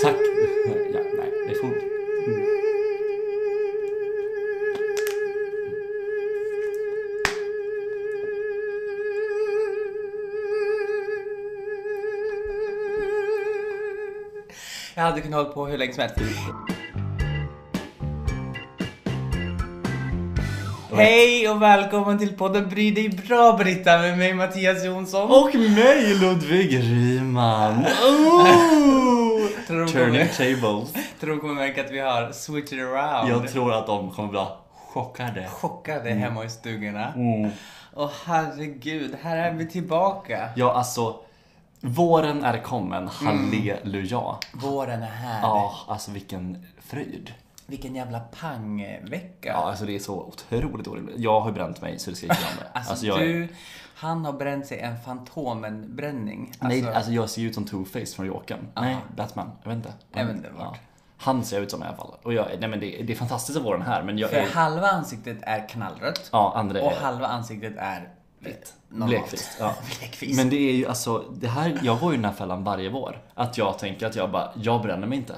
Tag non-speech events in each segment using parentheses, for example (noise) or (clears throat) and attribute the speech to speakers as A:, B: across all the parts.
A: Tack. Ja, nej, det får... Mm. Jag hade kunnat hålla på hur länge som helst. Hej och välkommen till podden Bry dig bra Britta med mig Mattias Jonsson.
B: Och mig Ludvig Ryman! Ooh!
A: Tror de
B: Turning
A: kommer-
B: tables.
A: Tror de kommer märka att vi har switched around.
B: Jag tror att de kommer bli chockade.
A: Chockade hemma i stugorna.
B: Mm.
A: Åh herregud, här är vi tillbaka.
B: Ja, alltså. Våren är kommen, halleluja.
A: Våren är här.
B: Ja, alltså vilken fröjd.
A: Vilken jävla pangvecka.
B: Ja, alltså det är så otroligt dåligt. Jag har ju bränt mig så det skriker jag om det.
A: Alltså,
B: jag,
A: du, han har bränt sig en Fantomen-bränning. Alltså,
B: nej, alltså jag ser ju ut som Two-Face från Jokern. Nej, Batman. Jag vet inte.
A: Underbart.
B: Han ser jag ut som i alla fall. Och jag, nej men det, det är fantastiskt att vara den här men jag
A: för
B: är...
A: halva ansiktet är knallrött
B: Ja, andra
A: och
B: är
A: halva ansiktet är vitt. normalt.
B: blekfisk. Ja.
A: (laughs) Blekfisk.
B: Men det är ju alltså, det här, jag går ju i den här fällan varje vår. Att jag tänker att jag bara, jag bränner mig inte.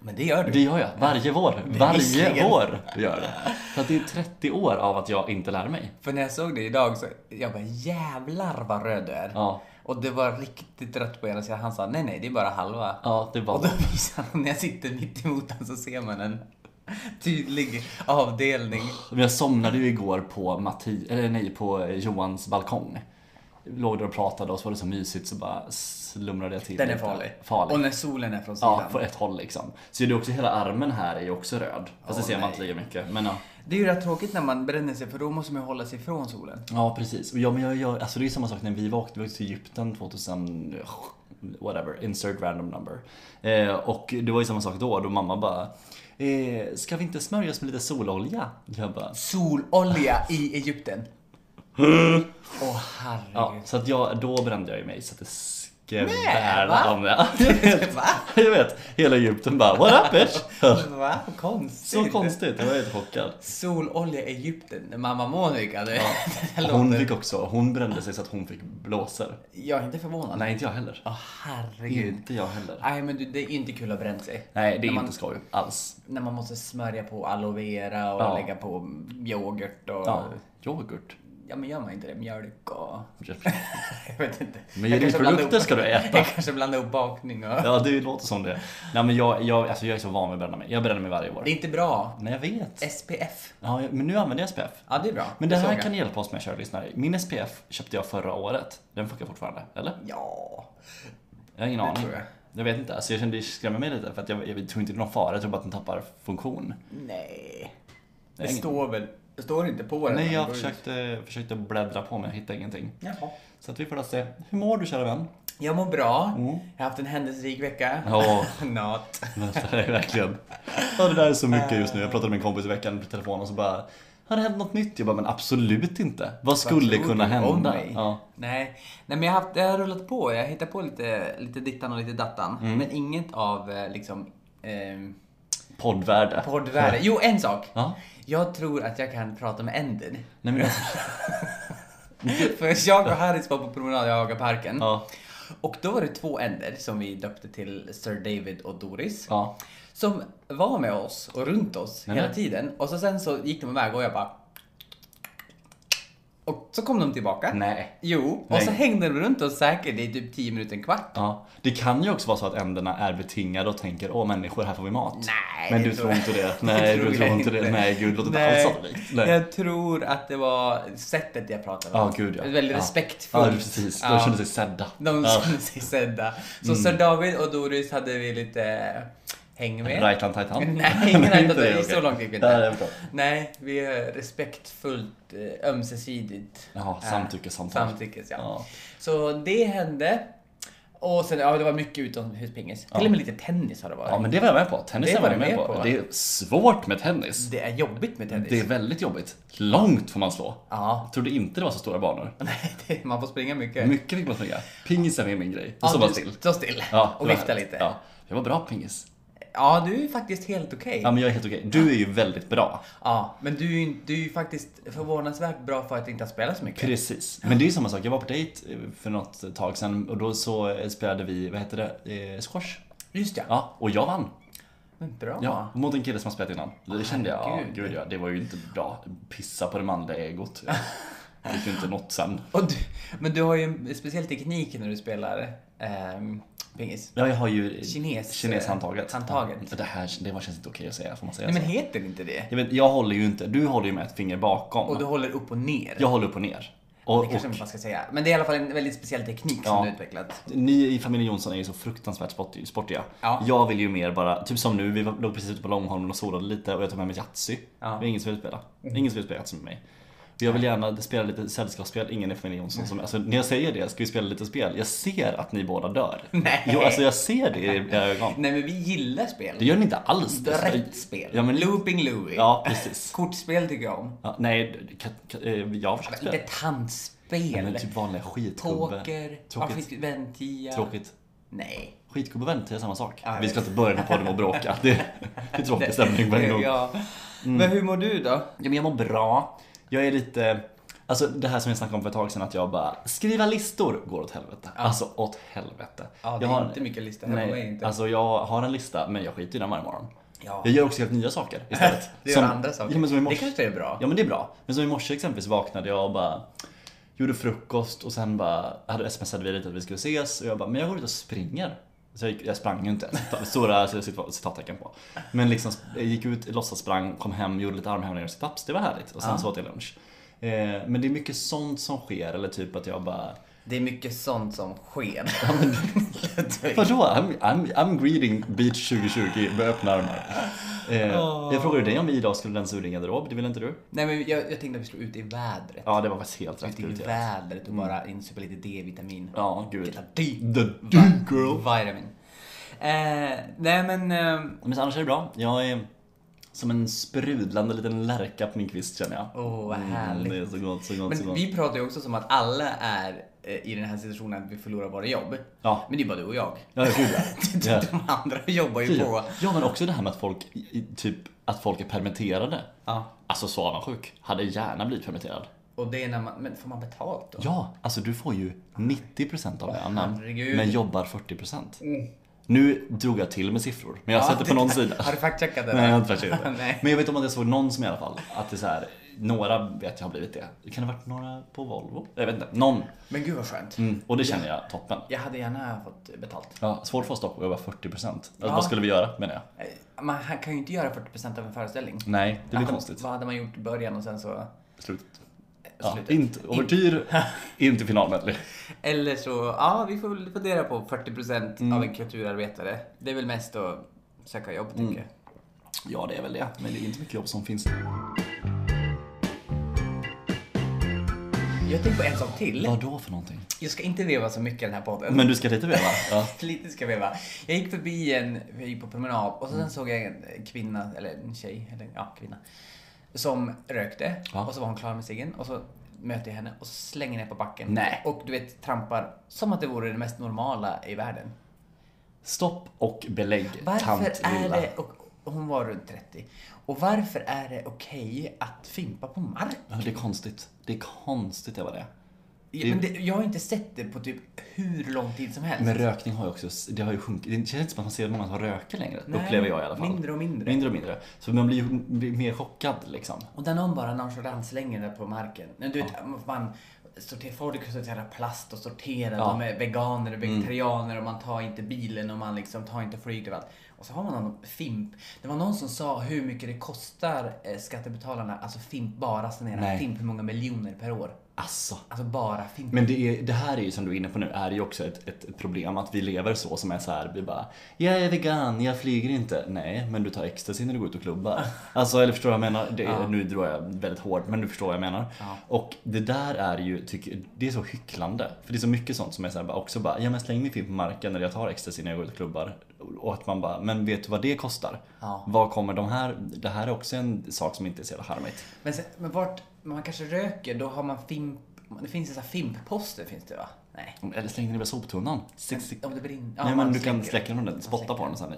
A: Men det gör du.
B: Det gör jag, varje vår. Varje
A: visserligen.
B: år gör jag det. Så att det är 30 år av att jag inte lär mig.
A: För när jag såg det idag så, jag bara jävlar vad röd du är.
B: Ja,
A: Och det var riktigt rött på ena sidan. Han sa nej, nej, det är bara halva.
B: ja det var
A: Och då visar han, när jag sitter mitt emot honom så ser man en tydlig avdelning.
B: Men jag somnade ju igår på Matti, eller nej, på Johans balkong. Låg där och pratade och så var det så mysigt så bara slumrade jag till.
A: Den är
B: lite.
A: farlig.
B: Farlig.
A: Och när solen är från sidan.
B: Ja, på ett håll liksom. Så det är också hela armen här är ju också röd. Fast det
A: Åh,
B: ser man
A: nej.
B: inte lika mycket. Men ja.
A: Det är ju rätt tråkigt när man bränner sig för då måste man ju hålla sig från solen.
B: Ja precis. Och ja, men jag, jag, alltså det är samma sak när vi var åkte vi åkte till Egypten 2000, whatever, insert random number. Eh, och det var ju samma sak då, då mamma bara eh, Ska vi inte smörja oss med lite sololja? Jag bara
A: Sololja i
B: (laughs)
A: Egypten. Åh herregud.
B: Ja, så att jag, då brände jag ju mig så att det skvärrade
A: va?
B: om det.
A: (laughs) Va?
B: (laughs) jag vet, hela Egypten bara What up (laughs) bitch?
A: Va? Konstigt.
B: Så konstigt, jag var helt (laughs) chockad.
A: Sololja i Egypten. Mamma Monica, du. Ja.
B: Hon fick också, hon brände sig så att hon fick blåsor.
A: Jag är inte förvånad.
B: Nej, inte jag heller.
A: Åh herregud.
B: Inte jag heller.
A: Nej men du, det är inte kul att bränna sig.
B: Nej, det är
A: När man-
B: inte skoj alls.
A: När man måste smörja på aloe vera och
B: Ja.
A: lägga på yoghurt och...
B: Ja,
A: Ja.
B: yoghurt.
A: men gör man inte det? Mjölk och... (laughs) Jag vet inte. Jag kanske blandar
B: Mejeriprodukter
A: ihop- (laughs)
B: ska du äta.
A: Jag kanske blandar ihop bakning och...
B: (laughs) Ja, det låter som det. Nej, men jag, jag, alltså, jag är så van vid att bränna mig. Jag bränner mig varje år.
A: Det är inte bra.
B: Nej, jag vet.
A: SPF.
B: Ja, jag- men nu använder jag SPF.
A: Ja, det är bra.
B: Men det
A: såg
B: här
A: jag.
B: kan hjälpa oss med, kära lyssnare. Min SPF köpte jag förra året. Den funkar fortfarande, eller?
A: Ja.
B: Jag har ingen aning.
A: tror jag.
B: jag vet inte. Alltså, jag kände det skrämmer mig lite för att jag, jag tror inte det är någon fara. Jag tror bara att den tappar funktion.
A: Nej.
B: är
A: Det
B: ingen-
A: står väl... Det står inte på den.
B: Nej, jag
A: Går ut.
B: försökte, försökte bläddra på men jag hittade ingenting.
A: Jaha.
B: Så att vi får då se. Hur mår du, kära vän?
A: Jag mår bra. Jag har haft en händelserik vecka.
B: Mm. Ja.
A: (laughs) Not.
B: Men det här är verkligen. Ja, det där är så mycket just nu. Jag pratade med en kompis i veckan på telefon och så bara har det hänt något nytt? Jag bara, men absolut inte. Vad skulle
A: tror
B: kunna
A: du om
B: hända?
A: mig?
B: Ja.
A: Nej. Nej, men jag har, haft, jag har rullat på. Jag har hittat på lite, lite dittan och lite dattan.
B: Mm.
A: Men inget av eh, liksom... Eh,
B: Poddvärde. Mm.
A: poddvärde. Jo, en sak.
B: Ja.
A: Jag tror att jag kan prata med änden.
B: Nej, men,
A: (laughs) För jag och Harris var på promenad i Hagaparken.
B: ja,
A: Och då var det två änder som vi döpte till Sir David och Doris.
B: ja.
A: Som var med oss och runt oss
B: Nej,
A: hela
B: nej.
A: tiden. Och så sen så gick de iväg och jag bara... Och så kom de tillbaka.
B: Nej.
A: Jo, och
B: Nej.
A: så hängde de runt oss säkert i typ 10 minuter, en kvart.
B: Ja. Det kan ju också vara så att änderna är betingade och tänker åh människor, här får vi mat.
A: Nej,
B: men
A: det
B: du
A: tror
B: tror
A: jag-
B: inte det.
A: det
B: Nej,
A: tror
B: du tror
A: jag
B: inte det.
A: inte.
B: Nej, gud, det låter inte alls
A: Nej.
B: sannolikt. Nej.
A: Jag tror att det var sättet jag pratade
B: Ja,
A: med
B: gud ja.
A: Väldigt
B: ja.
A: respektfullt.
B: Ja, precis. De
A: Ja.
B: kände sig sedda.
A: De
B: Ja. Mm.
A: kände sig sedda. Så Sir David och Doris hade vi lite eh, häng med.
B: Right on
A: (laughs)
B: Titan.
A: Nej, ingen right on
B: inte det,
A: Titan.
B: okej.
A: Så långt gick vi inte.
B: Nej, jag förstår.
A: Nej, vi är respektfullt eh, ömsesidigt.
B: Jaha,
A: eh,
B: samtyckessamtal.
A: Samtyckes, ja.
B: Ja.
A: Så det hände. Och sen, ja det var mycket utomhuspingis. Till och med lite tennis har det varit.
B: Ja men det var jag med på. Tennis
A: Det
B: var jag med på. Det är svårt med tennis.
A: Det är jobbigt med tennis.
B: Det är väldigt jobbigt. Långt får man slå.
A: Ja. (laughs)
B: Jag trodde inte det var så stora banor.
A: Nej, det- Man får springa mycket.
B: Mycket fick man springa. Pingis är min grej. Och så
A: Ja,
B: bara
A: du-
B: still.
A: Stå still.
B: Ja, det
A: och
B: var
A: vifta
B: härligt.
A: lite.
B: Ja. Jag var bra på pingis.
A: Ja, du är faktiskt helt okej.
B: Ja men jag är helt okej. Du är ju väldigt bra.
A: Ja, men du är, ju- du är ju faktiskt förvånansvärt bra för att inte ha spelat så mycket.
B: Precis. Men det är ju samma sak. Jag var på dejt eh, för något tag sedan och då så eh, spelade vi, vad heter det, eh, squash.
A: Just ja.
B: Ja, och jag vann.
A: Men bra.
B: Ja, mot en kille som har spelat innan. Det kände jag, ja,
A: Ah, herregud.
B: gud ja, det var ju inte bra. Pissa på det
A: (laughs)
B: manliga egot. Jag fick ju inte något sen.
A: Och du, men du har ju en speciell teknik när du spelar ehm, pingis.
B: Ja, jag har ju
A: Kines- eh,
B: kineshandtaget.
A: handtaget.
B: Ja, för det här det var, känns inte okej att säga, får man säga
A: Nej men
B: så?
A: heter det inte det?
B: Jag, vet, jag håller ju inte, du håller ju med ett finger bakom.
A: Och du håller upp och ner.
B: Jag håller upp och ner. Och,
A: Det kanske
B: och,
A: man bara ska säga. Men det är i alla fall en väldigt speciell teknik
B: Ja.
A: som du har utvecklat.
B: ni i familjen Jonsson är ju så fruktansvärt sport- sportiga.
A: Ja.
B: Jag vill ju mer bara, typ som nu, vi var- låg precis ute på Långholmen och solade lite och jag tog med mig Yatzy.
A: Ja. Mm.
B: Det är ingen som vill spela. Ingen som vill spela Yatzy med mig. Och Jag vill gärna spela lite sällskapsspel, ingen i familjen Jonsson som, alltså när jag säger det, ska vi spela lite spel? Jag ser att ni båda dör.
A: (laughs) Nej.
B: Jo, alltså jag ser det i era ögon.
A: Nej men vi gillar spel.
B: Det gör ni inte alls.
A: Rätt spel.
B: Ja, men,
A: Looping Louie.
B: ja
A: (laughs)
B: precis.
A: Kortspel tycker jag om.
B: Ja, nej, det- ka- ka- eh, jag har försökt spela.
A: Inte tantspel.
B: Men typ vanliga skitkubbe.
A: Poker.
B: Tråkigt.
A: Tråkigt. Ventia.
B: Tråkigt.
A: Nej.
B: Skitkubbe och vänta är samma sak.
A: Ja, jag
B: vi ska
A: vet.
B: inte börja den här podden med att bråka. Det, det är tråkig stämning på en gång. Ja,
A: ja. Men hur mår du då?
B: men jag mår bra. Jag är lite... Alltså det här som jag snackade om för ett tag sedan att jag bara skriva listor går åt helvete. Alltså åt helvete.
A: Ja, det
B: jag
A: är inte mycket lista hemma, det är
B: Nej,
A: inte.
B: alltså jag har en lista men jag skiter i den varje morgon.
A: Ja.
B: Jag gör också helt nya saker istället.
A: (laughs) (laughs) Det gör andra saker.
B: Ja, men som i morse.
A: Det kanske är bra.
B: Ja men det är bra. Men som i morse exempelvis vaknade jag och bara gjorde frukost och sen bara hade smsade vi lite att vi skulle ses och jag bara, men jag går ut och springer. Så jag, gick, jag sprang ju inte, stora (laughs) cita- citattecken på. Men liksom jag gick ut, låtsas sprang, kom hem, gjorde lite armhävningar och situps. Det var härligt. Och sen så åt jag lunch. Eh, men det är mycket sånt som sker eller typ att jag bara
A: Det är mycket sånt som sker. (laughs) Typ.
B: Vadå? I'm, I'm, I'm greeting beach 2020 med öppna armar. Eh, Jag frågade dig om vi idag skulle rensa ur din garderob, det ville inte du?
A: Nej men jag, jag tänkte att vi slår ut i vädret.
B: Ja, det var faktiskt helt rätt
A: Ut i Mm.
B: prioriterat.
A: vädret och bara insupa lite D-vitamin.
B: Ja,
A: Get
B: gud.
A: a D.
B: The dude girl.
A: Vitamin. Eh, nej men... ehm,
B: Men annars är det bra. Jag är som en sprudlande liten lärka på min kvist känner jag.
A: Åh, vad
B: Mm,
A: härligt.
B: det är så gott, så gott, så
A: Men
B: gott.
A: vi pratar ju också som att alla är eh, i den här situationen att vi förlorar våra jobb.
B: Ja.
A: Men det är bara du och jag.
B: Ja, gud ja.
A: (laughs)
B: ja. Typ.
A: De andra jobbar ju på.
B: Ja, men också det här med att folk, i- i- typ, att folk är permitterade.
A: Ja.
B: Alltså så avundsjuk. Hade gärna blivit permitterad.
A: Och det är när man... Men får man betalt då?
B: Ja, alltså du får ju 90% av lönen
A: herregud. Mm.
B: men jobbar 40%. Nu drog jag till med siffror, men jag har
A: Ja,
B: sett det på
A: det-
B: någon sida.
A: (laughs) Har du fact-checkat det?
B: Nej, jag har
A: där?
B: inte faktiskt inte.
A: (laughs) Nej.
B: Men jag vet om att jag såg någon som i alla fall, att det är så här, några vet jag har blivit det. Kan det ha varit några på Volvo? Jag vet inte, någon.
A: Men gud vad skönt.
B: Mm, Och det känner jag toppen.
A: Jag hade gärna fått betalt.
B: Ja, svårt att få stopp och jobba 40%. Alltså, Vad skulle vi göra menar jag?
A: Eh, Man han kan ju inte göra 40% av en föreställning.
B: Nej, det blir
A: Hade-
B: konstigt.
A: Vad hade man gjort i början och sen så...
B: Slut. Ja,
A: Slutet.
B: inte overtyr, (laughs) inte finalmedley.
A: Eller så, ja vi får väl fundera på 40%
B: Mm.
A: av en kulturarbetare. Det är väl mest att söka jobb
B: Mm.
A: tänker jag.
B: Ja, det är väl det. Men det är inte mycket jobb som finns.
A: Jag tänker på en sak till.
B: Vad då för någonting?
A: Jag ska inte veva så mycket i den här podden.
B: Men du ska lite veva? Ja.
A: Lite ska jag veva. Jag gick förbi en, jag gick på promenad och
B: Mm.
A: sen såg jag en kvinna, eller en tjej, eller ja kvinna. Som rökte
B: Ja.
A: och så var hon klar med ciggen och så möter jag henne och så slänger ner på backen.
B: Nej.
A: Och du vet trampar som att det vore det mest normala i världen.
B: Stopp och belägg,
A: Varför
B: tant
A: är
B: Lilla.
A: det, och och hon var runt 30, och varför är det okej att fimpa på mark?
B: Ja, det är konstigt. Det är konstigt det var det.
A: Ja, Men det, jag har inte sett det på typ hur lång tid som helst.
B: Men rökning har ju också, det har ju sjunkit. Det känns inte som att man ser många som röker längre.
A: Nej,
B: upplever jag i alla fall.
A: mindre och mindre.
B: Mindre och mindre. Så man blir ju blir mer chockad liksom.
A: Och där någon bara nonchalant slänger det på marken. Men Du vet, man sorterar, folk sorterar plast och sorterar,
B: Ja. Mm.
A: de är veganer och vegetarianer och man tar inte bilen och man liksom tar inte flyget och allt. Och så har man någon fimp. Det var någon som sa hur mycket det kostar eh, skattebetalarna, alltså fimp, bara sanera
B: Nej.
A: fimp, hur många miljoner per år.
B: Alltså.
A: Alltså bara fimp.
B: Men det, är, det här är ju som du är inne på nu, är ju också ett, ett problem att vi lever så som är så här, vi bara Jag är vegan, jag flyger inte. Nej, men du tar ecstasy när du går ut och (laughs) klubbar. Alltså, eller förstår du vad jag menar? Det, Nu drar jag väldigt hårt, men du förstår vad jag menar. Och det där är ju, tycker, det är så hycklande. För det är så mycket sånt som är så här, bara, också bara, ja men släng min film på marken när jag tar ecstasy när jag går ut och klubbar. Och att man bara, men vet du vad det kostar?
A: Ja.
B: Vad kommer de här, det här är också en sak som inte är så jävla charmigt.
A: Men, sen, men vart man kanske röker, då har man fimp... Det finns ju så här fimpposter, finns det va? Nej.
B: Eller släng den i soptunnan. Six,
A: Om det brinner. ja,
B: Nej
A: man
B: men du kan
A: släcker.
B: släcka den ordentligt, spotta på den sen i.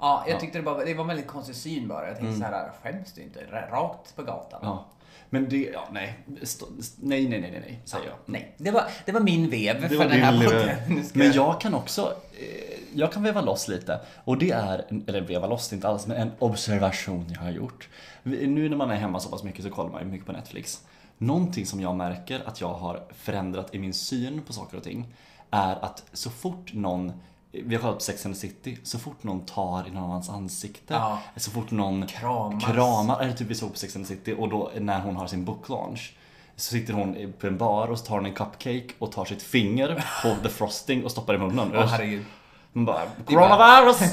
A: Ja, jag tyckte det, bara, det var en väldigt konstig syn bara. Jag tänkte så här, skäms du inte? R- Rakt på gatan.
B: Mm. Ja. Men det, ja, nej. St- st- nej, nej, nej, nej, nej, säger jag.
A: Nej, det var, det var min vev
B: Det
A: för
B: var
A: den här
B: din lilla-
A: podden. Nu ska
B: Men jag kan också, eh, jag kan veva loss lite. Och det är, en- eller veva loss inte alls, men en observation jag har gjort. Vi- Nu när man är hemma så pass mycket så kollar man ju mycket på Netflix. Någonting som jag märker att jag har förändrat i min syn på saker och ting är att så fort någon vi har kollat på Sex and the City, så fort någon tar i någon annans ansikte,
A: Ja.
B: så fort någon
A: Kramas.
B: kramar, eller typ vi såg på Sex and the City och då när hon har sin book launch så sitter hon på en bar och så tar hon en cupcake och tar sitt finger på the frosting och stoppar i munnen.
A: Åh, herregud.
B: Man bara
A: Det är bara-
B: coronavirus!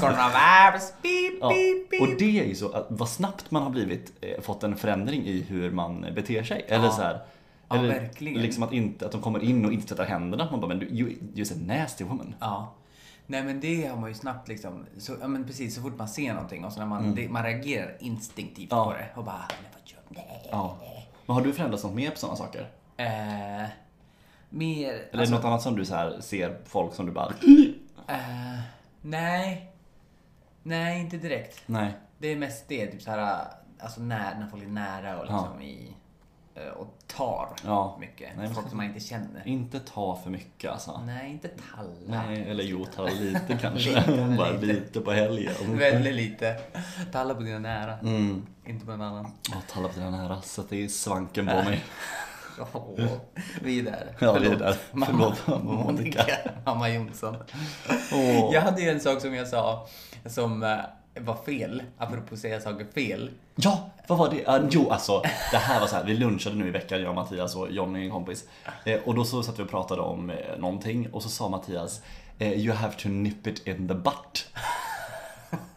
A: (laughs) Coronavirus! Beep,
B: Ja,
A: beep, beep.
B: och det är ju så att vad snabbt man har blivit, eh, fått en förändring i hur man beter sig. Eller så här,
A: Ja,
B: eller
A: verkligen.
B: liksom att, inte, att de kommer in och inte tvättar händerna. Man bara, men du, you, you're a nasty woman.
A: Ja. Nej men det har man ju snabbt liksom, så, ja, men precis så fort man ser någonting och så när man, det, man reagerar instinktivt
B: Mm. Ja.
A: på det och bara men vad gör det?
B: Ja. Men har du förändrats något mer på sådana saker?
A: Eh, mer, alltså,
B: Eller något annat som du så här ser folk som
A: (clears throat)
B: du bara
A: eh, nej. Nej inte direkt.
B: Nej.
A: Det är mest det, typ såhär, alltså när, när folk är nära och liksom i, eh, och tar
B: Ja.
A: mycket.
B: Nej, men-
A: folk som man inte känner.
B: Inte ta för mycket alltså.
A: Nej inte talla.
B: Nej, eller jo, ta
A: (laughs)
B: lite kanske.
A: Lite,
B: bara
A: lite.
B: lite. på helgen.
A: (laughs) Väldigt lite. Talla på dina nära.
B: Mm.
A: Inte på en
B: (laughs)
A: annan.
B: Åh, talla på den här sätt i svanken
A: (laughs)
B: på mig.
A: Åh, vi är där.
B: Ja, vi är
A: Förlåt.
B: där.
A: Mamma,
B: Förlåt, mamma
A: Monica.
B: Monica.
A: Mamma Jonsson.
B: Åh.
A: Jag hade ju en sak som jag sa som eh, var fel, apropå att säga saker fel.
B: Ja, vad var det? Ah, jo, alltså det här var så här. Vi lunchade nu i veckan, jag och Mattias och Johnny, en kompis. Eh, och då så satt vi och pratade om eh, någonting och så sa Mattias eh, You have to nip it in
A: (laughs)
B: the butt.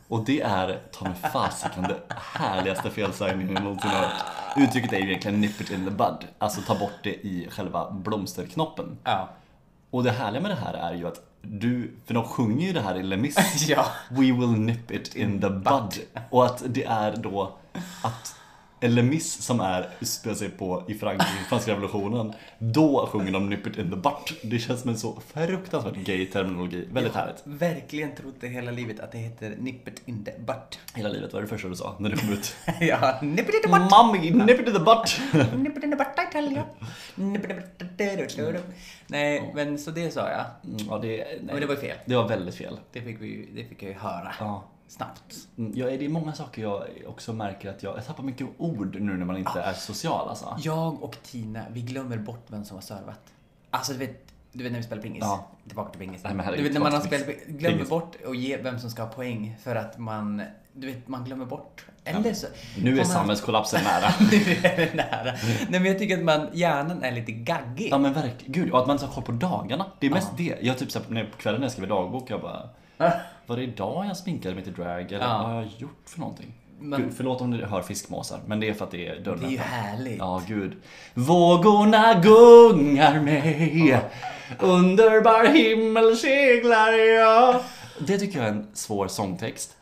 B: Och det är ta mig fasiken det härligaste felsägningen jag någonsin har hört. Uttrycket är ju egentligen nip it in the bud, alltså ta bort det i själva blomsterknoppen.
A: Ja. (laughs)
B: Och det härliga med det här är ju att du, för de sjunger ju det här i Les Mis. (laughs)
A: Ja.
B: We will nip it in the bud. Och att det är då att Les Mis som är, spelar sig på i Frankrike, franska revolutionen, då sjunger de nip it in the butt. Det känns som en så fruktansvärt gay terminologi. Väldigt härligt.
A: Verkligen trodde hela livet att det heter nippet in the butt.
B: Hela livet var det första du sa när du kom ut.
A: ja, nippet in the butt.
B: (laughs) Mommy, nip it in the butt!
A: Nippet in the butt, I tell you. Nippet in the butt. Nej, men så det sa jag.
B: Mm, Ja, det, nej.
A: Men det var ju fel.
B: Det var väldigt fel.
A: Det fick, vi, ju- det fick jag ju höra.
B: Ja.
A: Snabbt.
B: Mm, Ja, det är många saker jag också märker att jag, jag tappar mycket ord nu när man inte är social alltså.
A: Jag och Tina, vi glömmer bort vem som har servat. Alltså du vet, du vet när vi spelar pingis?
B: Ja.
A: Tillbaka till pingis.
B: Nej, men
A: du
B: herregud,
A: vet när man har
B: tillbaka till
A: spelat
B: pingis.
A: pingis, glömmer
B: Pingis.
A: bort och ge vem som ska ha poäng för att man, du vet, man glömmer bort. Eller så...
B: Nu är
A: har man-
B: samhällskollapsen nära.
A: Nu är det nära. Nej men jag tycker att man, hjärnan är lite gaggig.
B: (laughs) Ja men verkligen, gud. Och att man inte har koll på dagarna. Det är mest det. Jag typ såhär, när- på kvällen när jag skriver dagbok, jag bara Var det idag jag sminkade mig till drag? Eller
A: Ja.
B: vad har jag gjort för någonting?
A: Men-
B: Gud, förlåt om ni hör fiskmåsar, men det är för att det är dörren
A: Det är ju
B: öppen.
A: härligt.
B: Ja, gud. Vågorna gungar mig Underbar himmel seglar jag Det tycker jag är en svår sångtext.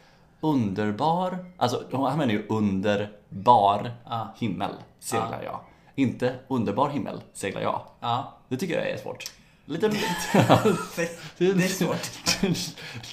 B: Underbar, alltså han menar ju underbar himmel seglar jag. Inte underbar himmel seglar jag.
A: Ja.
B: Det tycker jag är svårt. Lite...
A: Det
B: (laughs)
A: är svårt.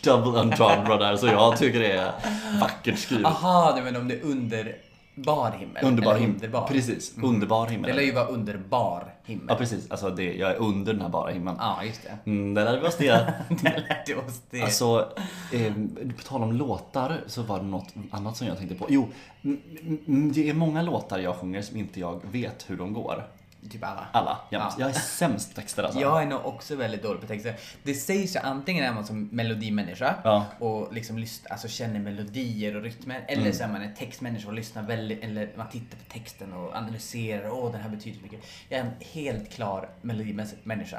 B: Double entendre där, så jag tycker det är vackert skrivet.
A: Aha, du menar om det är underbar himmel?
B: Underbar Mm.
A: Eller
B: himmel.
A: Underbar.
B: Precis, underbar himmel.
A: Det lär ju vara underbar himmel.
B: Ja precis, alltså det, jag är under den här bara himlen.
A: Ja, just det. (laughs)
B: Mm, det där var stela.
A: Där lärde vi oss det.
B: Alltså, eh, på tal om låtar så var det något annat som jag tänkte på. Jo, m- m- det är många låtar jag sjunger som inte jag vet hur de går.
A: Typ alla.
B: Alla, jämt.
A: Ja.
B: Jag är sämst texter alltså.
A: Jag är nog också väldigt dålig på texter. Det sägs ju antingen är man som melodimänniska
B: Ja.
A: och liksom lyssnar, alltså känner melodier och rytmer. Eller
B: Mm.
A: så är man en textmänniska och lyssnar väldigt, eller man tittar på texten och analyserar. Åh, den här betyder så mycket. Jag är en helt klar melodimänniska.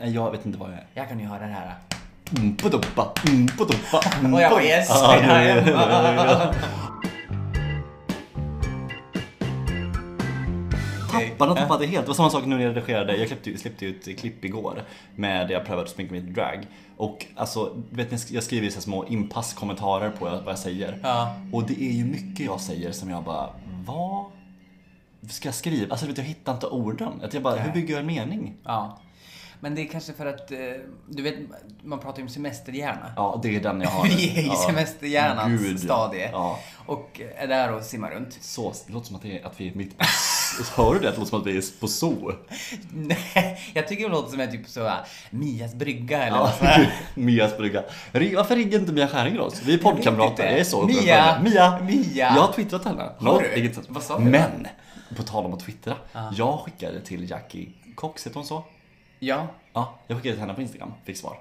B: Eh, Jag vet inte vad jag är.
A: Jag kan ju höra det här.
B: Mm, på doppa, mm, på doppa, mm,
A: Och jag
B: på-
A: bara, yes,
B: Ja,
A: det är jag.
B: det är jag. Tapparna tappade helt. Det var samma sak nu när jag redigerade. Jag klippte, ju- släppte ju ett klipp igår med det jag prövade att sminka mig till drag. Och alltså, du vet ni, jag skriver ju så här små inpasskommentarer på vad jag säger.
A: Ja.
B: Och det är ju mycket jag säger som jag bara, vad ska jag skriva? Alltså du vet, jag hittar inte orden. Att jag bara, hur bygger jag en mening?
A: Ja. Men det är kanske för att, eh, du vet, man pratar ju om semesterhjärna.
B: Ja, det är den jag har.
A: Vi är (laughs) i
B: ja.
A: semesterhjärnans
B: Gud.
A: stadie.
B: Ja.
A: Och är där och simmar runt. (laughs)
B: Så, det låter som att, det är, att vi är mitt Hör du det? Det låter som att vi är på zoo.
A: Nej, jag tycker det låter som en typ så här, Mias brygga eller
B: Ja, (laughs)
A: något sånt här.
B: Mias brygga. Ring- Varför ringer inte Mia Skäringer oss? Vi är
A: inte.
B: poddkamrater, jag är så upprörd.
A: Mia,
B: Mia!
A: Mia.
B: Jag har twittrat henne. Nå,
A: du?
B: inget sätt.
A: Vad sa du?
B: Men, på tal om att twittra. Jag skickade till Jackie Cox, heter hon så?
A: Ja.
B: Ja, jag skickade till henne på Instagram, fick svar.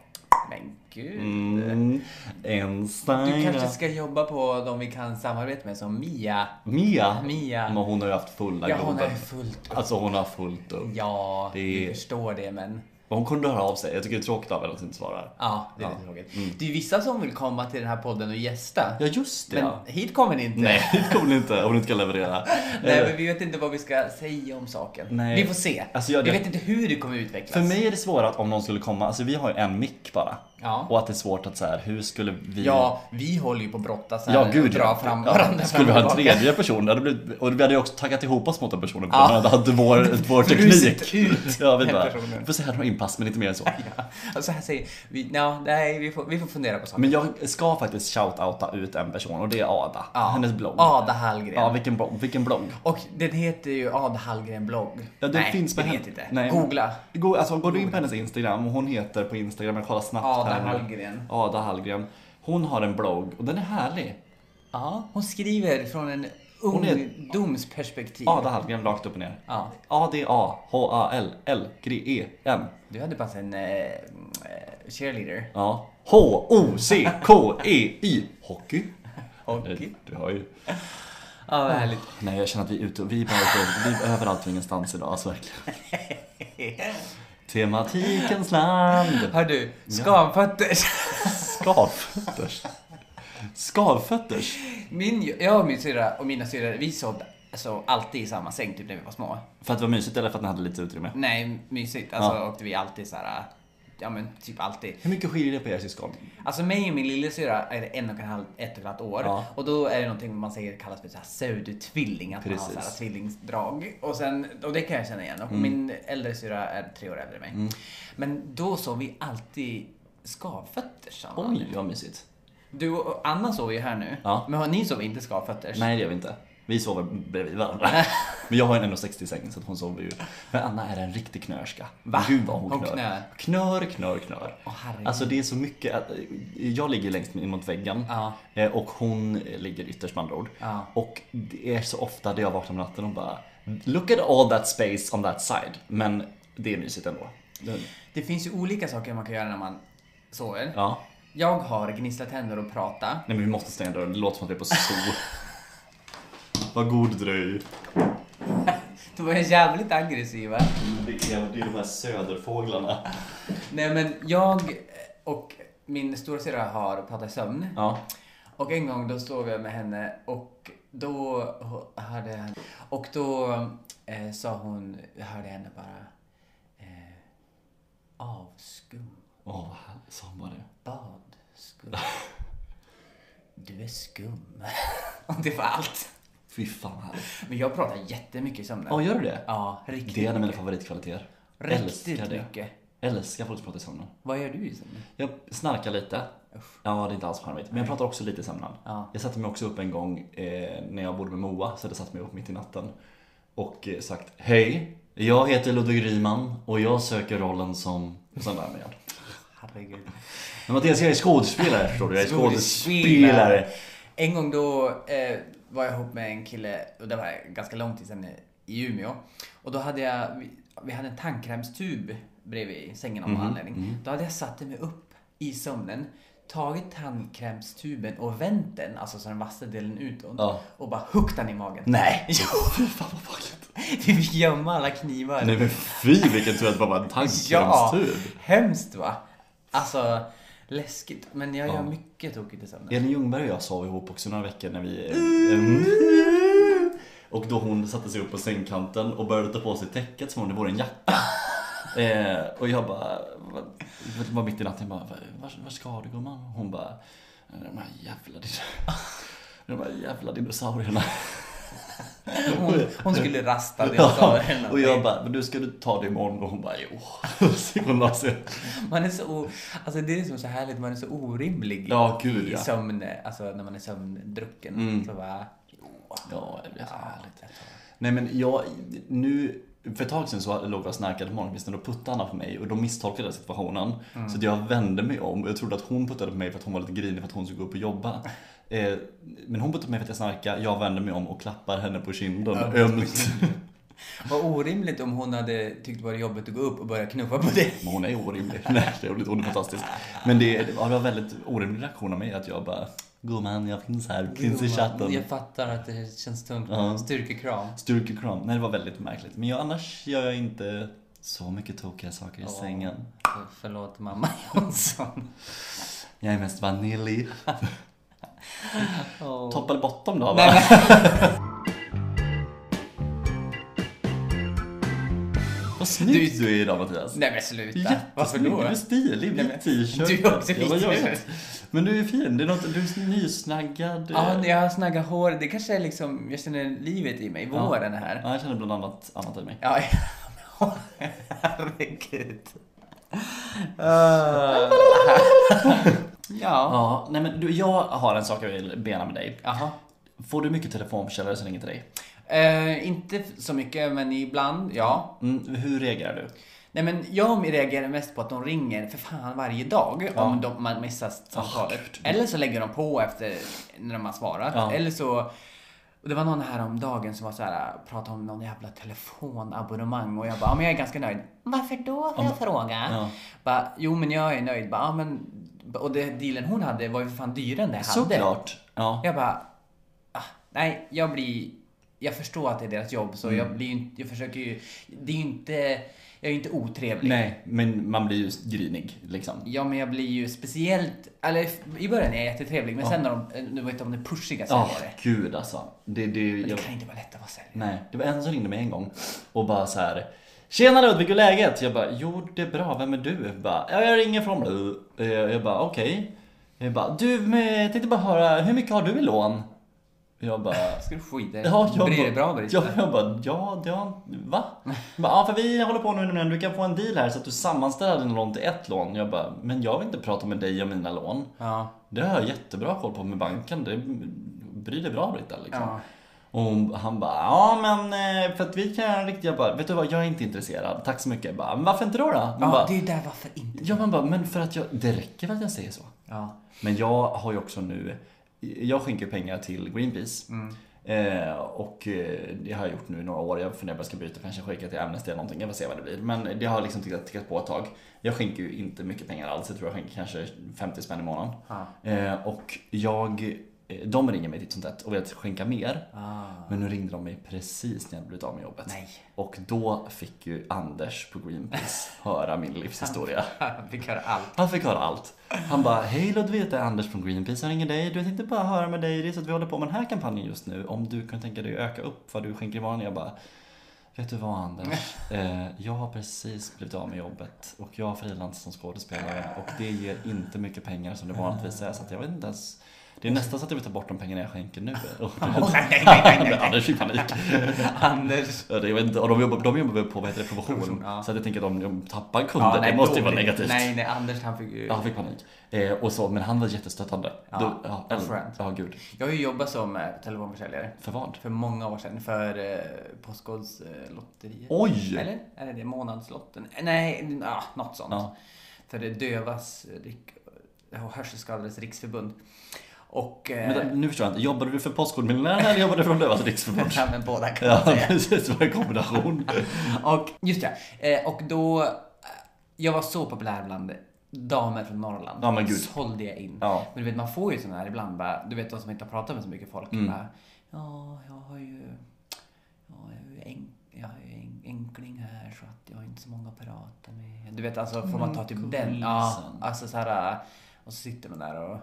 A: Men gud.
B: Mm, en
A: Du
B: stjärna.
A: kanske ska jobba på de vi kan samarbeta med som Mia.
B: Mia!
A: Mia.
B: Men hon har ju haft fulla
A: Ja, hon
B: Globen.
A: har ju fullt upp.
B: Alltså hon har fullt upp.
A: Ja,
B: Det
A: vi
B: är-
A: förstår det men.
B: Men Hon kunde höra av sig. Jag tycker det är tråkigt av henne att inte svara.
A: Ja, det är lite tråkigt. Det är ju vissa som vill komma till den här podden och gästa.
B: Mm. Ja, just det.
A: men
B: ja.
A: hit kommer ni inte.
B: Nej, det kommer hon inte om hon inte kan leverera.
A: (laughs)
B: Eh,
A: Nej, men vi vet inte vad vi ska säga om saken.
B: Nej.
A: Vi får se.
B: Alltså, jag-
A: vi vet inte hur det kommer utvecklas.
B: För mig är det svårare att om någon skulle komma, alltså vi har ju en mick bara.
A: Ja.
B: Och att det är svårt att så här, hur skulle vi...
A: Ja, vi håller ju på att brottas här
B: Ja,
A: och
B: gud
A: dra
B: ja.
A: fram
B: Ja,
A: varandra fram
B: Skulle vi
A: och
B: ha en
A: tillbaka.
B: tredje person, det hade blivit, och vi hade ju också taggat ihop oss mot den personen för
A: Ja.
B: ja. den hade vår,
A: (laughs)
B: vår teknik.
A: Brusit ut
B: Ja, vi
A: den
B: bara,
A: personen.
B: vi får se här har inpass men inte mer än så.
A: (laughs) Ja, så här säger vi, no, nej, vi får, vi får fundera på saken.
B: Men jag ska faktiskt shout-outa ut en person och det är Ada.
A: Ja.
B: Hennes blogg.
A: Ada Hallgren.
B: Ja, vilken blogg. Vilken blogg.
A: Och den heter ju Ada Hallgren blogg.
B: Ja, det
A: nej,
B: finns
A: den
B: med
A: heter
B: henne.
A: inte.
B: Nej.
A: Googla.
B: Gå, alltså, går du in på hennes Instagram, och hon heter på Instagram, jag kollar snabbt
A: Ada
B: här nu.
A: Hallgren.
B: Ada Hallgren. Hon har en blogg och den är härlig.
A: Ja, hon skriver från en
B: är-
A: ungdomsperspektiv.
B: Ada Hallgren rakt upp och ner.
A: Ja.
B: A-D-A-H-A-L-L-G-E-N.
A: Du hade bara en eh, eh, cheerleader.
B: Ja. H-O-C-K-E-I. E Hockey. Eh,
A: Hockey.
B: Du hör ju.
A: Ja, vad härligt. (laughs)
B: Nej, jag känner att vi är ute och vi är, bara ute, vi är överallt och ingenstans idag, alltså verkligen.
A: (laughs)
B: Tematikens land.
A: Hör du, skamfötter.
B: Skavfötters. Skavfötters.
A: (laughs) Min, jag och min syrra och mina syrror, vi sov alltså, alltid i samma säng typ när vi var små.
B: För att det var mysigt eller för att den hade lite utrymme?
A: Nej, mysigt. Alltså
B: Ja.
A: åkte vi alltid så här. Ja men typ alltid.
B: Hur mycket skiljer det på er syskon?
A: Alltså mig och min lillasyrra är det en och en halv, ett och ett halvt år.
B: Ja.
A: Och då är det någonting man säger kallas för så här pseudotvilling. Att man har så här
B: Precis. Mm.
A: tvillingdrag. Och, sen, och det kan jag känna igen. Och min äldre syrra är tre år äldre än mig. Men då sov vi alltid skavfötter samman.
B: Oj, vad mysigt.
A: Du och Anna sover ju här nu.
B: Ja.
A: Men har ni sov inte skavfötters?
B: Nej, det gör vi inte. Vi sover bredvid
A: (laughs)
B: varandra. Men jag har en 1,60-säng så att hon sover ju. Men Anna är en riktig knörska.
A: Va?
B: Gud vad hon,
A: Hon
B: knör.
A: knör.
B: Knör, knör, knör.
A: Åh, herregud.
B: alltså det är så mycket. att- eh, Jag ligger längst in mot väggen.
A: Ja.
B: Eh, Och hon ligger ytterst med andra ord.
A: Ja.
B: Och det är så ofta det jag vaknar om natten och bara Look at all that space on that side. Men det är mysigt ändå.
A: Det finns ju olika saker man kan göra när man sover.
B: Ja.
A: Jag har gnisslat tänder och prata.
B: Nej men vi måste stänga dörren, det låter som att vi är
A: (laughs)
B: på zoo. vad god dröj.
A: De var jävligt aggressiva.
B: Det är, det är de här söderfåglarna.
A: Nej men jag och min storasyrra har pratat i sömn.
B: Ja.
A: Och en gång då sov jag med henne och då hörde jag Och då eh, sa hon, hörde jag henne bara eh, Avskum,
B: Åh, vad härligt. Sa hon bara det?
A: bad, skum. Du är skum. (laughs) Och det var allt.
B: Fy fan vad härligt.
A: Men jag pratar jättemycket i sömnen.
B: Ja, gör du det?
A: Ja, riktigt.
B: Det är en av mina favoritkvaliteter.
A: Riktigt
B: det.
A: mycket.
B: Älskar folk som pratar i sömnen.
A: Vad gör du i sömnen?
B: Jag snarkar lite. Ja, det är inte alls charmigt. Men jag pratar också lite i sömnen.
A: Ja.
B: Jag satte mig också upp en gång eh, när jag bodde med Moa, så hade jag satt mig upp mitt i natten. Och eh, sagt Hej, jag heter Ludvig Ryman och jag söker rollen som... Och sen lär mig allt.
A: Herregud.
B: Men Mattias, jag är skådespelare förstår du. Jag är
A: Skådespelare.
B: skådespelare.
A: En gång då eh, var jag ihop med en kille, och det var ganska lång tid sedan eh, i Umeå. Och då hade jag, vi, vi hade en tandkrämstub bredvid sängen av någon
B: Mhm,
A: anledning. Då hade jag satt mig upp i sömnen, tagit tandkrämstuben och vänt den, alltså så den vassa delen utåt,
B: Ja.
A: och bara huggit den i magen.
B: Nej.
A: (laughs) Jo,
B: Fy fan vad farligt.
A: vi fick gömma alla knivar.
B: Nej men fy vilken tur att det bara var en
A: ja,
B: tandkrämstub.
A: hemskt va? Alltså, läskigt. Men jag gör mycket tokigt i sömnen.
B: Elin Ljungberg och jag sov ihop också några veckor när vi... Mm. Och då hon satte sig upp på sängkanten och började ta på sig täcket som om det vore en jacka. eh, och jag bara... vad- Det var mitt i natten, jag bara, var, var ska du gumman? Hon bara, de här jävla... din- De här jävla dinosaurierna.
A: Hon, hon skulle rasta det jag sa. eller
B: och jag
A: någonting.
B: bara, men du ska du ta det imorgon? Och hon bara, jo. (laughs) Så gick hon och la sig.
A: Man är så, o- alltså det är liksom så härligt, man är så orimlig
B: Ja, gud,
A: i
B: ja. Mm.
A: sömn, alltså när man är sömndrucken. Så bara, åh,
B: Ja, det blir så härligt.
A: härligt. jag tar.
B: Nej men jag, nu, för ett tag sedan så låg jag och snarkade på morgonkvisten och då puttade Anna på mig och de misstolkade situationen. Så att jag vände mig om och jag trodde att hon puttade på mig för att hon var lite grinig för att hon skulle gå upp och jobba. Eh, men hon puttade på mig för att jag snarkade, jag vände mig om och klappar henne på kinden ömt. (laughs)
A: Vad orimligt om hon hade tyckt det var jobbigt att gå upp och börja knuffa på dig.
B: Men hon är orimlig. (laughs) Nej, det är roligt. Hon är fantastisk. Men det, ja, det var en väldigt orimlig reaktion av mig att jag bara Gumman, jag finns här. Finns i chatten.
A: Jag fattar att det känns tungt.
B: Ja.
A: Styrkekram.
B: Styrkekram. Nej, det var väldigt märkligt. Men jag, annars gör jag inte så mycket tokiga saker i sängen.
A: För- Förlåt mamma (laughs) Jonsson.
B: Jag är
A: (laughs)
B: mest vanilj.
A: Åh.
B: Topp eller bottom då?
A: Nej,
B: Va?
A: men-
B: Vad snygg du, är idag Mattias.
A: Nej men sluta. Varför
B: Jättesnygg.
A: då?
B: Du är stilig.
A: Nej,
B: Vit
A: men-
B: t-shirt.
A: Du är också
B: Ja, vad
A: fin.
B: gör jag? Men du är fin. Det är något, du är nysnaggad.
A: Ja, när jag har snagga hår. Det kanske är liksom, jag känner livet i mig. Våren är här.
B: Ja, jag känner bland annat annat i mig.
A: Ja, ja. (laughs) herregud. Ah. ja.
B: Ja, nej men du, jag har en sak jag vill bena med dig.
A: Jaha.
B: Får du mycket telefonförsäljare som ringer till dig?
A: Eh, inte f- så mycket, men ibland, ja.
B: Mm, hur reagerar du?
A: Nej men jag reagerar mest på att de ringer för fan varje dag om de, man missar samtalet.
B: gud.
A: Eller så lägger de på efter när de har svarat.
B: Ja.
A: Eller så och det var någon här om dagen som var så här, pratade om någon jävla telefonabonnemang och jag bara, ja men jag är ganska nöjd. Varför då får jag fråga?
B: Ja.
A: Bara, jo men jag är nöjd. Bara, ja, men... Och det dealen hon hade var ju för fan dyrare än det jag hade.
B: Såklart. Ja.
A: Jag bara, ah, nej jag blir, jag förstår att det är deras jobb
B: Mm.
A: så jag blir ju inte- jag försöker ju, det är ju inte, jag är ju inte otrevlig.
B: Nej, men man blir ju grinig liksom.
A: Ja men jag blir ju speciellt, eller i början är jag jättetrevlig men sen när de, nu vet jag om det är pushiga
B: Ja,
A: säljare.
B: gud alltså. Det, det,
A: Det
B: jag,
A: kan inte vara lätt att vara säljare.
B: nej, det var en som ringde mig en gång och bara så här. Tjena Ludvig, hur är läget? Jag bara, jo det är bra, vem är du? Jag bara, ja, jag ringer från Blue. Eh, Jag bara, okej. Jag bara, du, men jag tänkte bara höra, hur mycket har du i lån? Jag bara, (laughs)
A: Ska du skita i
B: Ja, jag
A: Bryr dig
B: bara,
A: bra om det?
B: ja, jag bara, ja, det har, va? Jag Bara, ja, för vi håller på nu men du kan få en deal här så att du sammanställer dina lån till ett lån. Jag bara, men jag vill inte prata med dig om mina lån.
A: Ja.
B: Det har jag jättebra koll på med banken. Det bryr dig bra Britta liksom.
A: Ja.
B: Och hon- han bara, ja men eh, för att vi kan göra en riktig, jag bara, vet du vad, jag är inte intresserad. Tack så mycket. Jag bara, men varför inte då då? Hon
A: ja,
B: bara,
A: det är ju där varför inte.
B: ja man bara, men för att jag, det räcker väl att jag säger så.
A: Ja.
B: Men jag har ju också nu, jag skänker pengar till Greenpeace.
A: Mm.
B: Eh, och eh, det har jag gjort nu i några år. Jag funderar på att jag ska byta, kanske skänka till Amnesty eller någonting. Jag får se vad det blir. Men det har liksom tickat, tickat på ett tag. Jag skänker ju inte mycket pengar alls. Jag tror jag skänker kanske 50 spänn i månaden.
A: Ja.
B: Eh, och jag, eh, de ringer mig titt som tätt och vill att skänka mer.
A: Ah.
B: Men nu ringde de mig precis när jag hade blivit av med jobbet.
A: Nej. (laughs)
B: Och då fick ju Anders på Greenpeace höra min livshistoria.
A: Vi kan göra
B: (laughs)
A: allt.
B: Han fick höra allt. Han bara, hej Ludvig, det är Anders från Greenpeace, jag ringer dig. Du tänkte bara höra med dig, det är så att vi håller på med den här kampanjen just nu. Om du kan tänka dig att öka upp vad du skänker imorgon. Jag bara, vet du
A: (laughs)
B: vad Anders? Eh, jag har precis blivit av med jobbet och jag frilansar som skådespelare och det ger inte mycket pengar som det vanligtvis är. Så att jag vet inte ens. Det är nästan så att jag vill ta bort de pengarna jag
A: (laughs)
B: skänker nu. Och-
A: nej, nej,
B: (laughs)
A: nej, nej, nej.
B: Anders fick panik.
A: Anders.
B: Ja, det- Jag vet inte, och de jobbar, de jobbar väl på vad heter det, provision.
A: Provision, ja.
B: Så att jag tänker att de, de tappar kunder, det måste ju vara negativt.
A: Nej, nej, Anders han fick ju...
B: Ja, han fick panik. Eh, och så, men han var jättestöttande.
A: Ja,
B: Då- ja,
A: vad
B: eller-
A: skönt.
B: ja, gud.
A: Jag har ju jobbat som eh, telefonförsäljare
B: För vad?
A: för många år sedan för eh, Postkodlotteriet.
B: Oj!
A: Eller? Är det det? Månadslotten? Eh, Nej, ja, något sånt.
B: Ja.
A: För det dövas eh, rik- och hörselskadades riksförbund. Och... Eh,
B: Men, där- nu förstår jag inte. Jobbade du för Postkodmiljonärerna eller jobbade du för Dövas Riksförbund?
A: (laughs) ja, men båda kan man
B: Ja,
A: säga.
B: precis. Det var en kombination.
A: Och just det. Eh, och då... eh, Jag var så populär bland damer från Norrland.
B: Ja, men gud.
A: Sålde jag in.
B: Ja.
A: Men du vet, man får ju sådana här ibland. Bara, du vet de som inte har pratat med så mycket folk.
B: Mm.
A: Bara, ja, jag har ju... Ja, jag har ju en, jag har ju en, enkling här så att jag har inte så många att prata med. Du vet, alltså får man ta typ den? Ja,
B: gulsen.
A: alltså så här... Och så sitter man där och...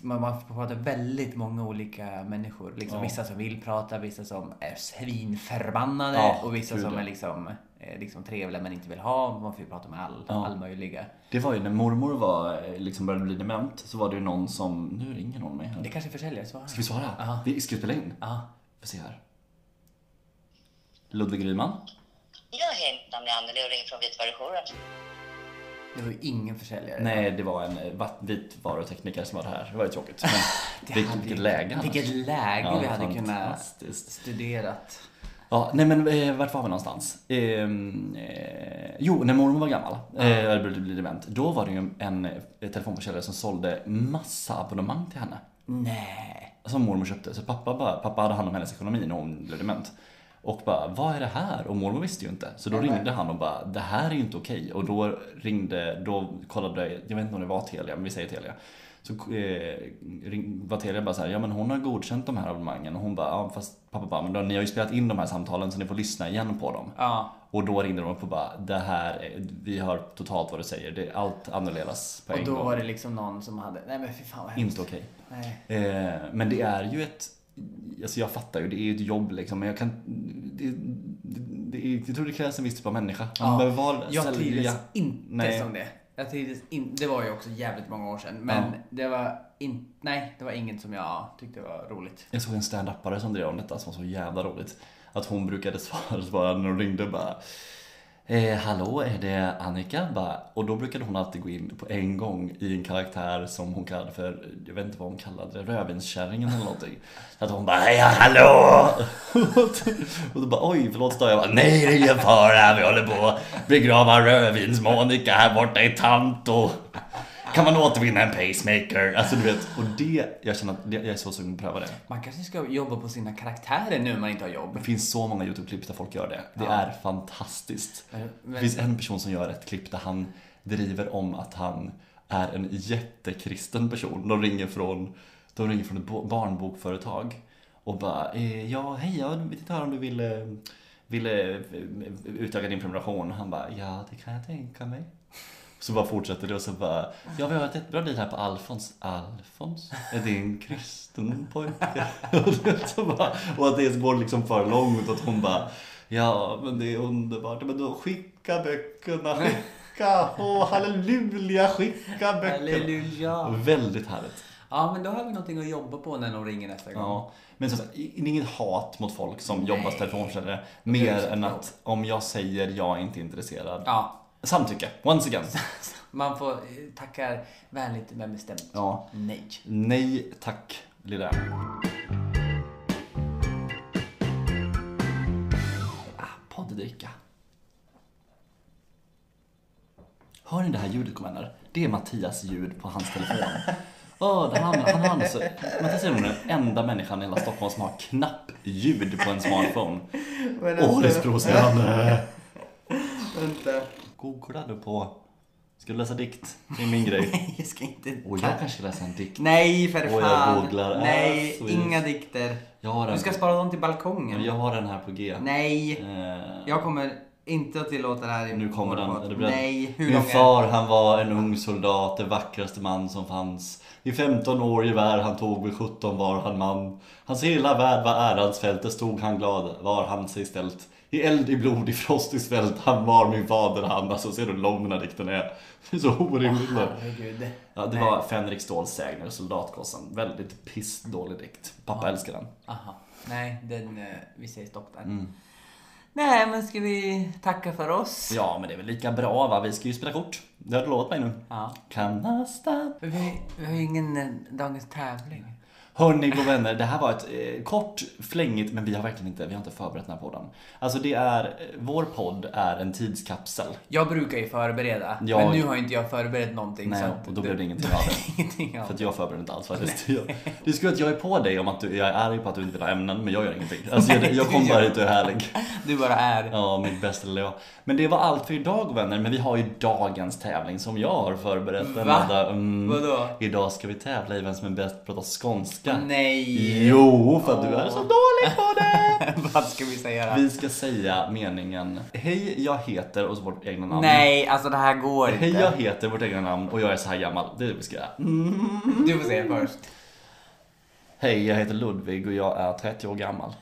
A: Man, man får prata väldigt många olika människor. Liksom,
B: Ja.
A: Vissa som vill prata, vissa som är svinförbannade
B: Ja,
A: och vissa
B: gud,
A: som
B: ja.
A: är liksom, eh, liksom trevliga men inte vill ha. Man får ju prata med all,
B: Ja.
A: all möjliga.
B: Det var ju när mormor var, eh, liksom började bli dement så var det ju någon som... Nu ringer någon mig
A: Det
B: här.
A: kanske är försäljare svarar.
B: Ska vi svara?
A: Ja.
B: Vi ska spela in?
A: Ja.
B: Vi får se här. Ludvig Ryman.
A: Eh.
C: Ja, hej, mitt namn är Anneli och ringer från Vitvarujouren.
A: Det var ju ingen försäljare.
B: Nej, det var en eh, vatt- vit varutekniker som var här. Det var
A: (laughs)
B: ju tråkigt. Men
A: Det
B: vilket,
A: hade-
B: vilket läge annars.
A: Vilket läge
B: Ja,
A: vi hade kunnat
B: fantastiskt.
A: studerat.
B: Ja, nej men eh, vart var vi någonstans? Ehm, Eh, jo, när mormor var gammal, eh, det blev- det blev event, då var det ju en eh, telefonförsäljare som sålde massa abonnemang till henne.
A: Nej.
B: Som mormor köpte. Så pappa, bara, pappa hade hand om hennes ekonomi när hon blev dement. Och bara, vad är det här? Och mormor visste ju inte. Så då ringde han och bara, det här är ju inte okej. Och då ringde, då kollade, jag vet inte om det var Telia, men vi säger Telia. Så eh, ring, var Telia bara så här, ja men hon har godkänt de här abonnemangen. Och hon bara, ja fast pappa bara, men då, ni har ju spelat in de här samtalen så ni får lyssna igen på dem.
A: Ja.
B: Och då ringde de upp och bara, det här, är- vi hör totalt vad du säger. Det, allt annorledes på
A: Och
B: en
A: då
B: gång.
A: var det liksom någon som hade... Nej men fy fan vad hemskt.
B: Inte okej.
A: Nej.
B: Eh, men det är ju ett, alltså jag fattar ju, det är ju ett jobb liksom. Men jag kan, det, det, det, jag tror det krävs en viss typ av människa. Man
A: Ja.
B: behöver vara,
A: Jag
B: sälja.
A: trivdes inte
B: Nej.
A: som det. Jag trivdes in, det var ju också jävligt många år sedan. Men
B: Ja.
A: det var inte... Nej, det var inget som jag tyckte var roligt.
B: Jag såg en stand-upare som drev om detta som var så jävla roligt. Att hon brukade (laughs) svara, svara när hon ringde bara Eh, hallå, är det Annika? Bara, och då brukade hon alltid gå in på en gång i en karaktär som hon kallade för, jag vet inte vad hon kallade det, rödvinskärringen eller någonting. Så att hon bara, hej, hallå! (laughs) och då bara, oj, förlåt, stör jag? Bara, Nej, det är ingen fara, vi håller på att begrava rödvins-Monica här borta i Tanto. Kan man återvinna en pacemaker? Alltså du vet, och det, jag känner att det, jag är så sugen på att pröva det.
A: Man kanske ska jobba på sina karaktärer nu när man inte har jobb.
B: Det finns så många YouTube-klipp där folk gör det. Det är fantastiskt.
A: Eh, Men-
B: Det finns en person som gör ett klipp där han driver om att han är en jättekristen person. De ringer från, de ringer från ett bo- barnbokföretag och bara eh, ja, hej, jag vill inte höra om du vill, eh, vill eh, utöka din prenumeration. Han bara ja, det kan jag tänka mig. Så bara fortsätter det och så bara Ja vi har ett jättebra liv här på Alfons Alfons? Är det en kristen pojke? (laughs) Och så bara, och att det går liksom för långt att hon bara Ja men det är underbart, men då skicka böckerna, skicka, åh halleluja, skicka böckerna
A: Halleluja!
B: Väldigt härligt
A: Ja, men då har vi någonting att jobba på när någon ringer nästa gång.
B: Ja, men som sagt, i- inget hat mot folk som jobbar som telefonförsäljare
A: Det är
B: Mer
A: så
B: än
A: bra.
B: att om jag säger jag är inte intresserad
A: Ja,
B: Samtycke,
A: (laughs)
B: once again
A: man får eh, tackar vänligt men bestämt.
B: Ja,
A: Nej.
B: Nej tack, lilla Ah, Podddricka. Hör ni det här ljudet kommander? Det är Mattias ljud på hans telefon. Oh, han, han har alltså, Mattias är nog den enda människan i hela Stockholm som har knappljud på en smartphone.
A: Men alltså-
B: Åh, det är så provocerande.
A: vänta.
B: Googla du på... Ska du läsa dikt? Det är
A: (laughs)
B: min grej.
A: Jag ska inte...
B: Och jag kanske ska läsa en dikt.
A: Nej, för
B: Och jag
A: fan.
B: googlar.
A: Nej,
B: Ah, så
A: inga dikter.
B: Jag har
A: Du
B: den,
A: ska spara dem till balkongen.
B: jag har den här på G.
A: Nej,
B: Eh,
A: jag kommer inte att tillåta det här i
B: Nu
A: vår
B: kommer den.
A: podd.
B: Är du beredd?
A: Nej, hur
B: Min
A: lång är
B: far han var en ung soldat, den vackraste man som fanns. I 15 år gevär han tog, vid 17 var han man. Hans hela värld var ärans fält, där stod han glad, var han sig ställt. I eld, i blod, i frost, i svält, han var min fader han. Alltså ser du hur lång den här dikten är? Det är så orimligt lång.
A: Herregud.
B: Ja, det var Fänrik Ståhls sägner, Soldatgossen. Väldigt pissdålig dikt. Pappa älskar den.
A: Aha. Nej, den, eh, vi säger stopp där.
B: Mm.
A: Nej, men ska vi tacka för oss?
B: Ja, men det är väl lika bra va? Vi ska ju spela kort. Det har du lovat mig nu.
A: Ja.
B: Kanasta
A: Men Vi, vi har ju ingen eh, dagens tävling.
B: Hörni, våra vänner, det här var ett eh, kort, flängigt, men vi har verkligen inte, vi har inte förberett den här podden. Alltså det är, eh, vår podd är en tidskapsel.
A: Jag brukar ju förbereda,
B: Ja.
A: men nu har inte jag förberett någonting.
B: Nej,
A: så att
B: och då
A: det-
B: blev det ingenting av det.
A: (laughs) ingenting av
B: För att
A: det.
B: jag förbereder inte alls faktiskt. Jag- Det är skönt att jag är på dig om att du, jag är arg på att du inte vill ha ämnen, men jag gör
A: (laughs)
B: ingenting. Alltså jag,
A: Nej,
B: jag
A: du
B: kommer bara
A: gör-
B: hit och är härlig.
A: Du bara är.
B: Ja, mitt bästa lilla jag. Men det var allt för idag vänner, men vi har ju dagens tävling som jag har förberett.
A: Va?
B: Amanda. Mm.
A: Vadå?
B: Idag ska vi tävla i vem som är bäst på att prata skånska.
A: Nej!
B: Jo, för att du är så dålig på det!
A: (laughs) Vad ska vi säga då?
B: Vi ska säga meningen Hej, jag heter och så vårt egna namn.
A: Nej, alltså det här går
B: Hej, jag
A: inte.
B: heter vårt egna namn och jag är så här gammal. Det är det vi ska göra. Mm.
A: Du får säga först.
B: Hej, jag heter Ludvig och jag är 30 år gammal.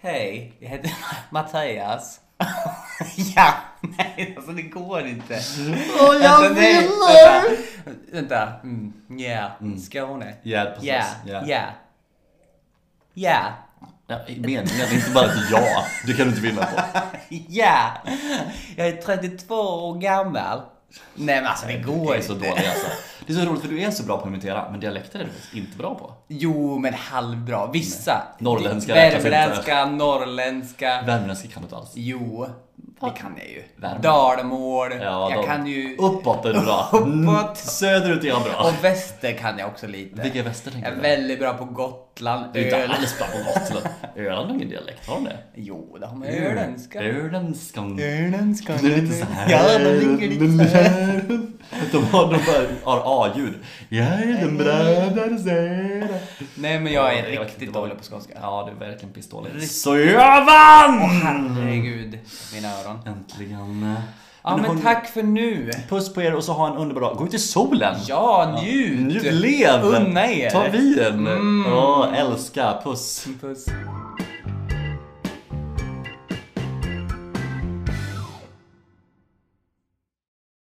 A: Hej, jag heter Mattias. (laughs) ja, nej alltså det går inte.
B: Åh,
A: Alltså, nej, vänta. Vänta. Mm. Yeah. Skåne.
B: Ja, precis.
A: Yeah.
B: Ja.
A: Yeah. (laughs) Yeah.
B: Ja, meningen, inte bara ett ja. Det kan du inte vinna på.
A: Ja! Jag är 32 år gammal. Nej men alltså det går
B: Det är så
A: inte.
B: dålig alltså. Det är så roligt för du är så bra på att imitera, men dialekter är du faktiskt inte bra på.
A: Jo men halvbra. Vissa.
B: Norrländska räknas inte.
A: Värmländska, norrländska.
B: Värmländska kan du inte alls.
A: Jo, det kan jag ju.
B: Värmland.
A: Dalmål.
B: Ja,
A: jag
B: de-
A: kan ju...
B: Uppåt är du bra. Mm.
A: Uppåt.
B: Söderut är jag bra.
A: Och väster kan jag också lite.
B: Vilka väster tänker
A: Jag är
B: du?
A: väldigt bra på Gotland,
B: Du är inte
A: öl.
B: alls bra på Gotland. Öland har ingen dialekt, har de det?
A: Jo, det har man ju. Öländska.
B: Ölandskan.
A: Öländska.
B: Det är lite så här. Mm.
A: Ja, de ligger lite så här.
B: (laughs) De har, de bara har A-ljud. Jag är den bröder säger.
A: Nej men jag
B: Jag
A: är
B: vet inte
A: riktigt
B: vad-
A: dålig på skånska.
B: Ja, det är verkligen pissdåligt.
A: Riktigt.
B: Så jag vann!
A: Herregud, mina öron.
B: Äntligen.
A: Ja men
B: hon-
A: tack för nu.
B: Puss på er och så ha en underbar dag. Gå ut i solen!
A: Ja, njut!
B: Njut, lev!
A: Unna er!
B: Mm. Ta vin! Åh, älska, puss!
A: Puss.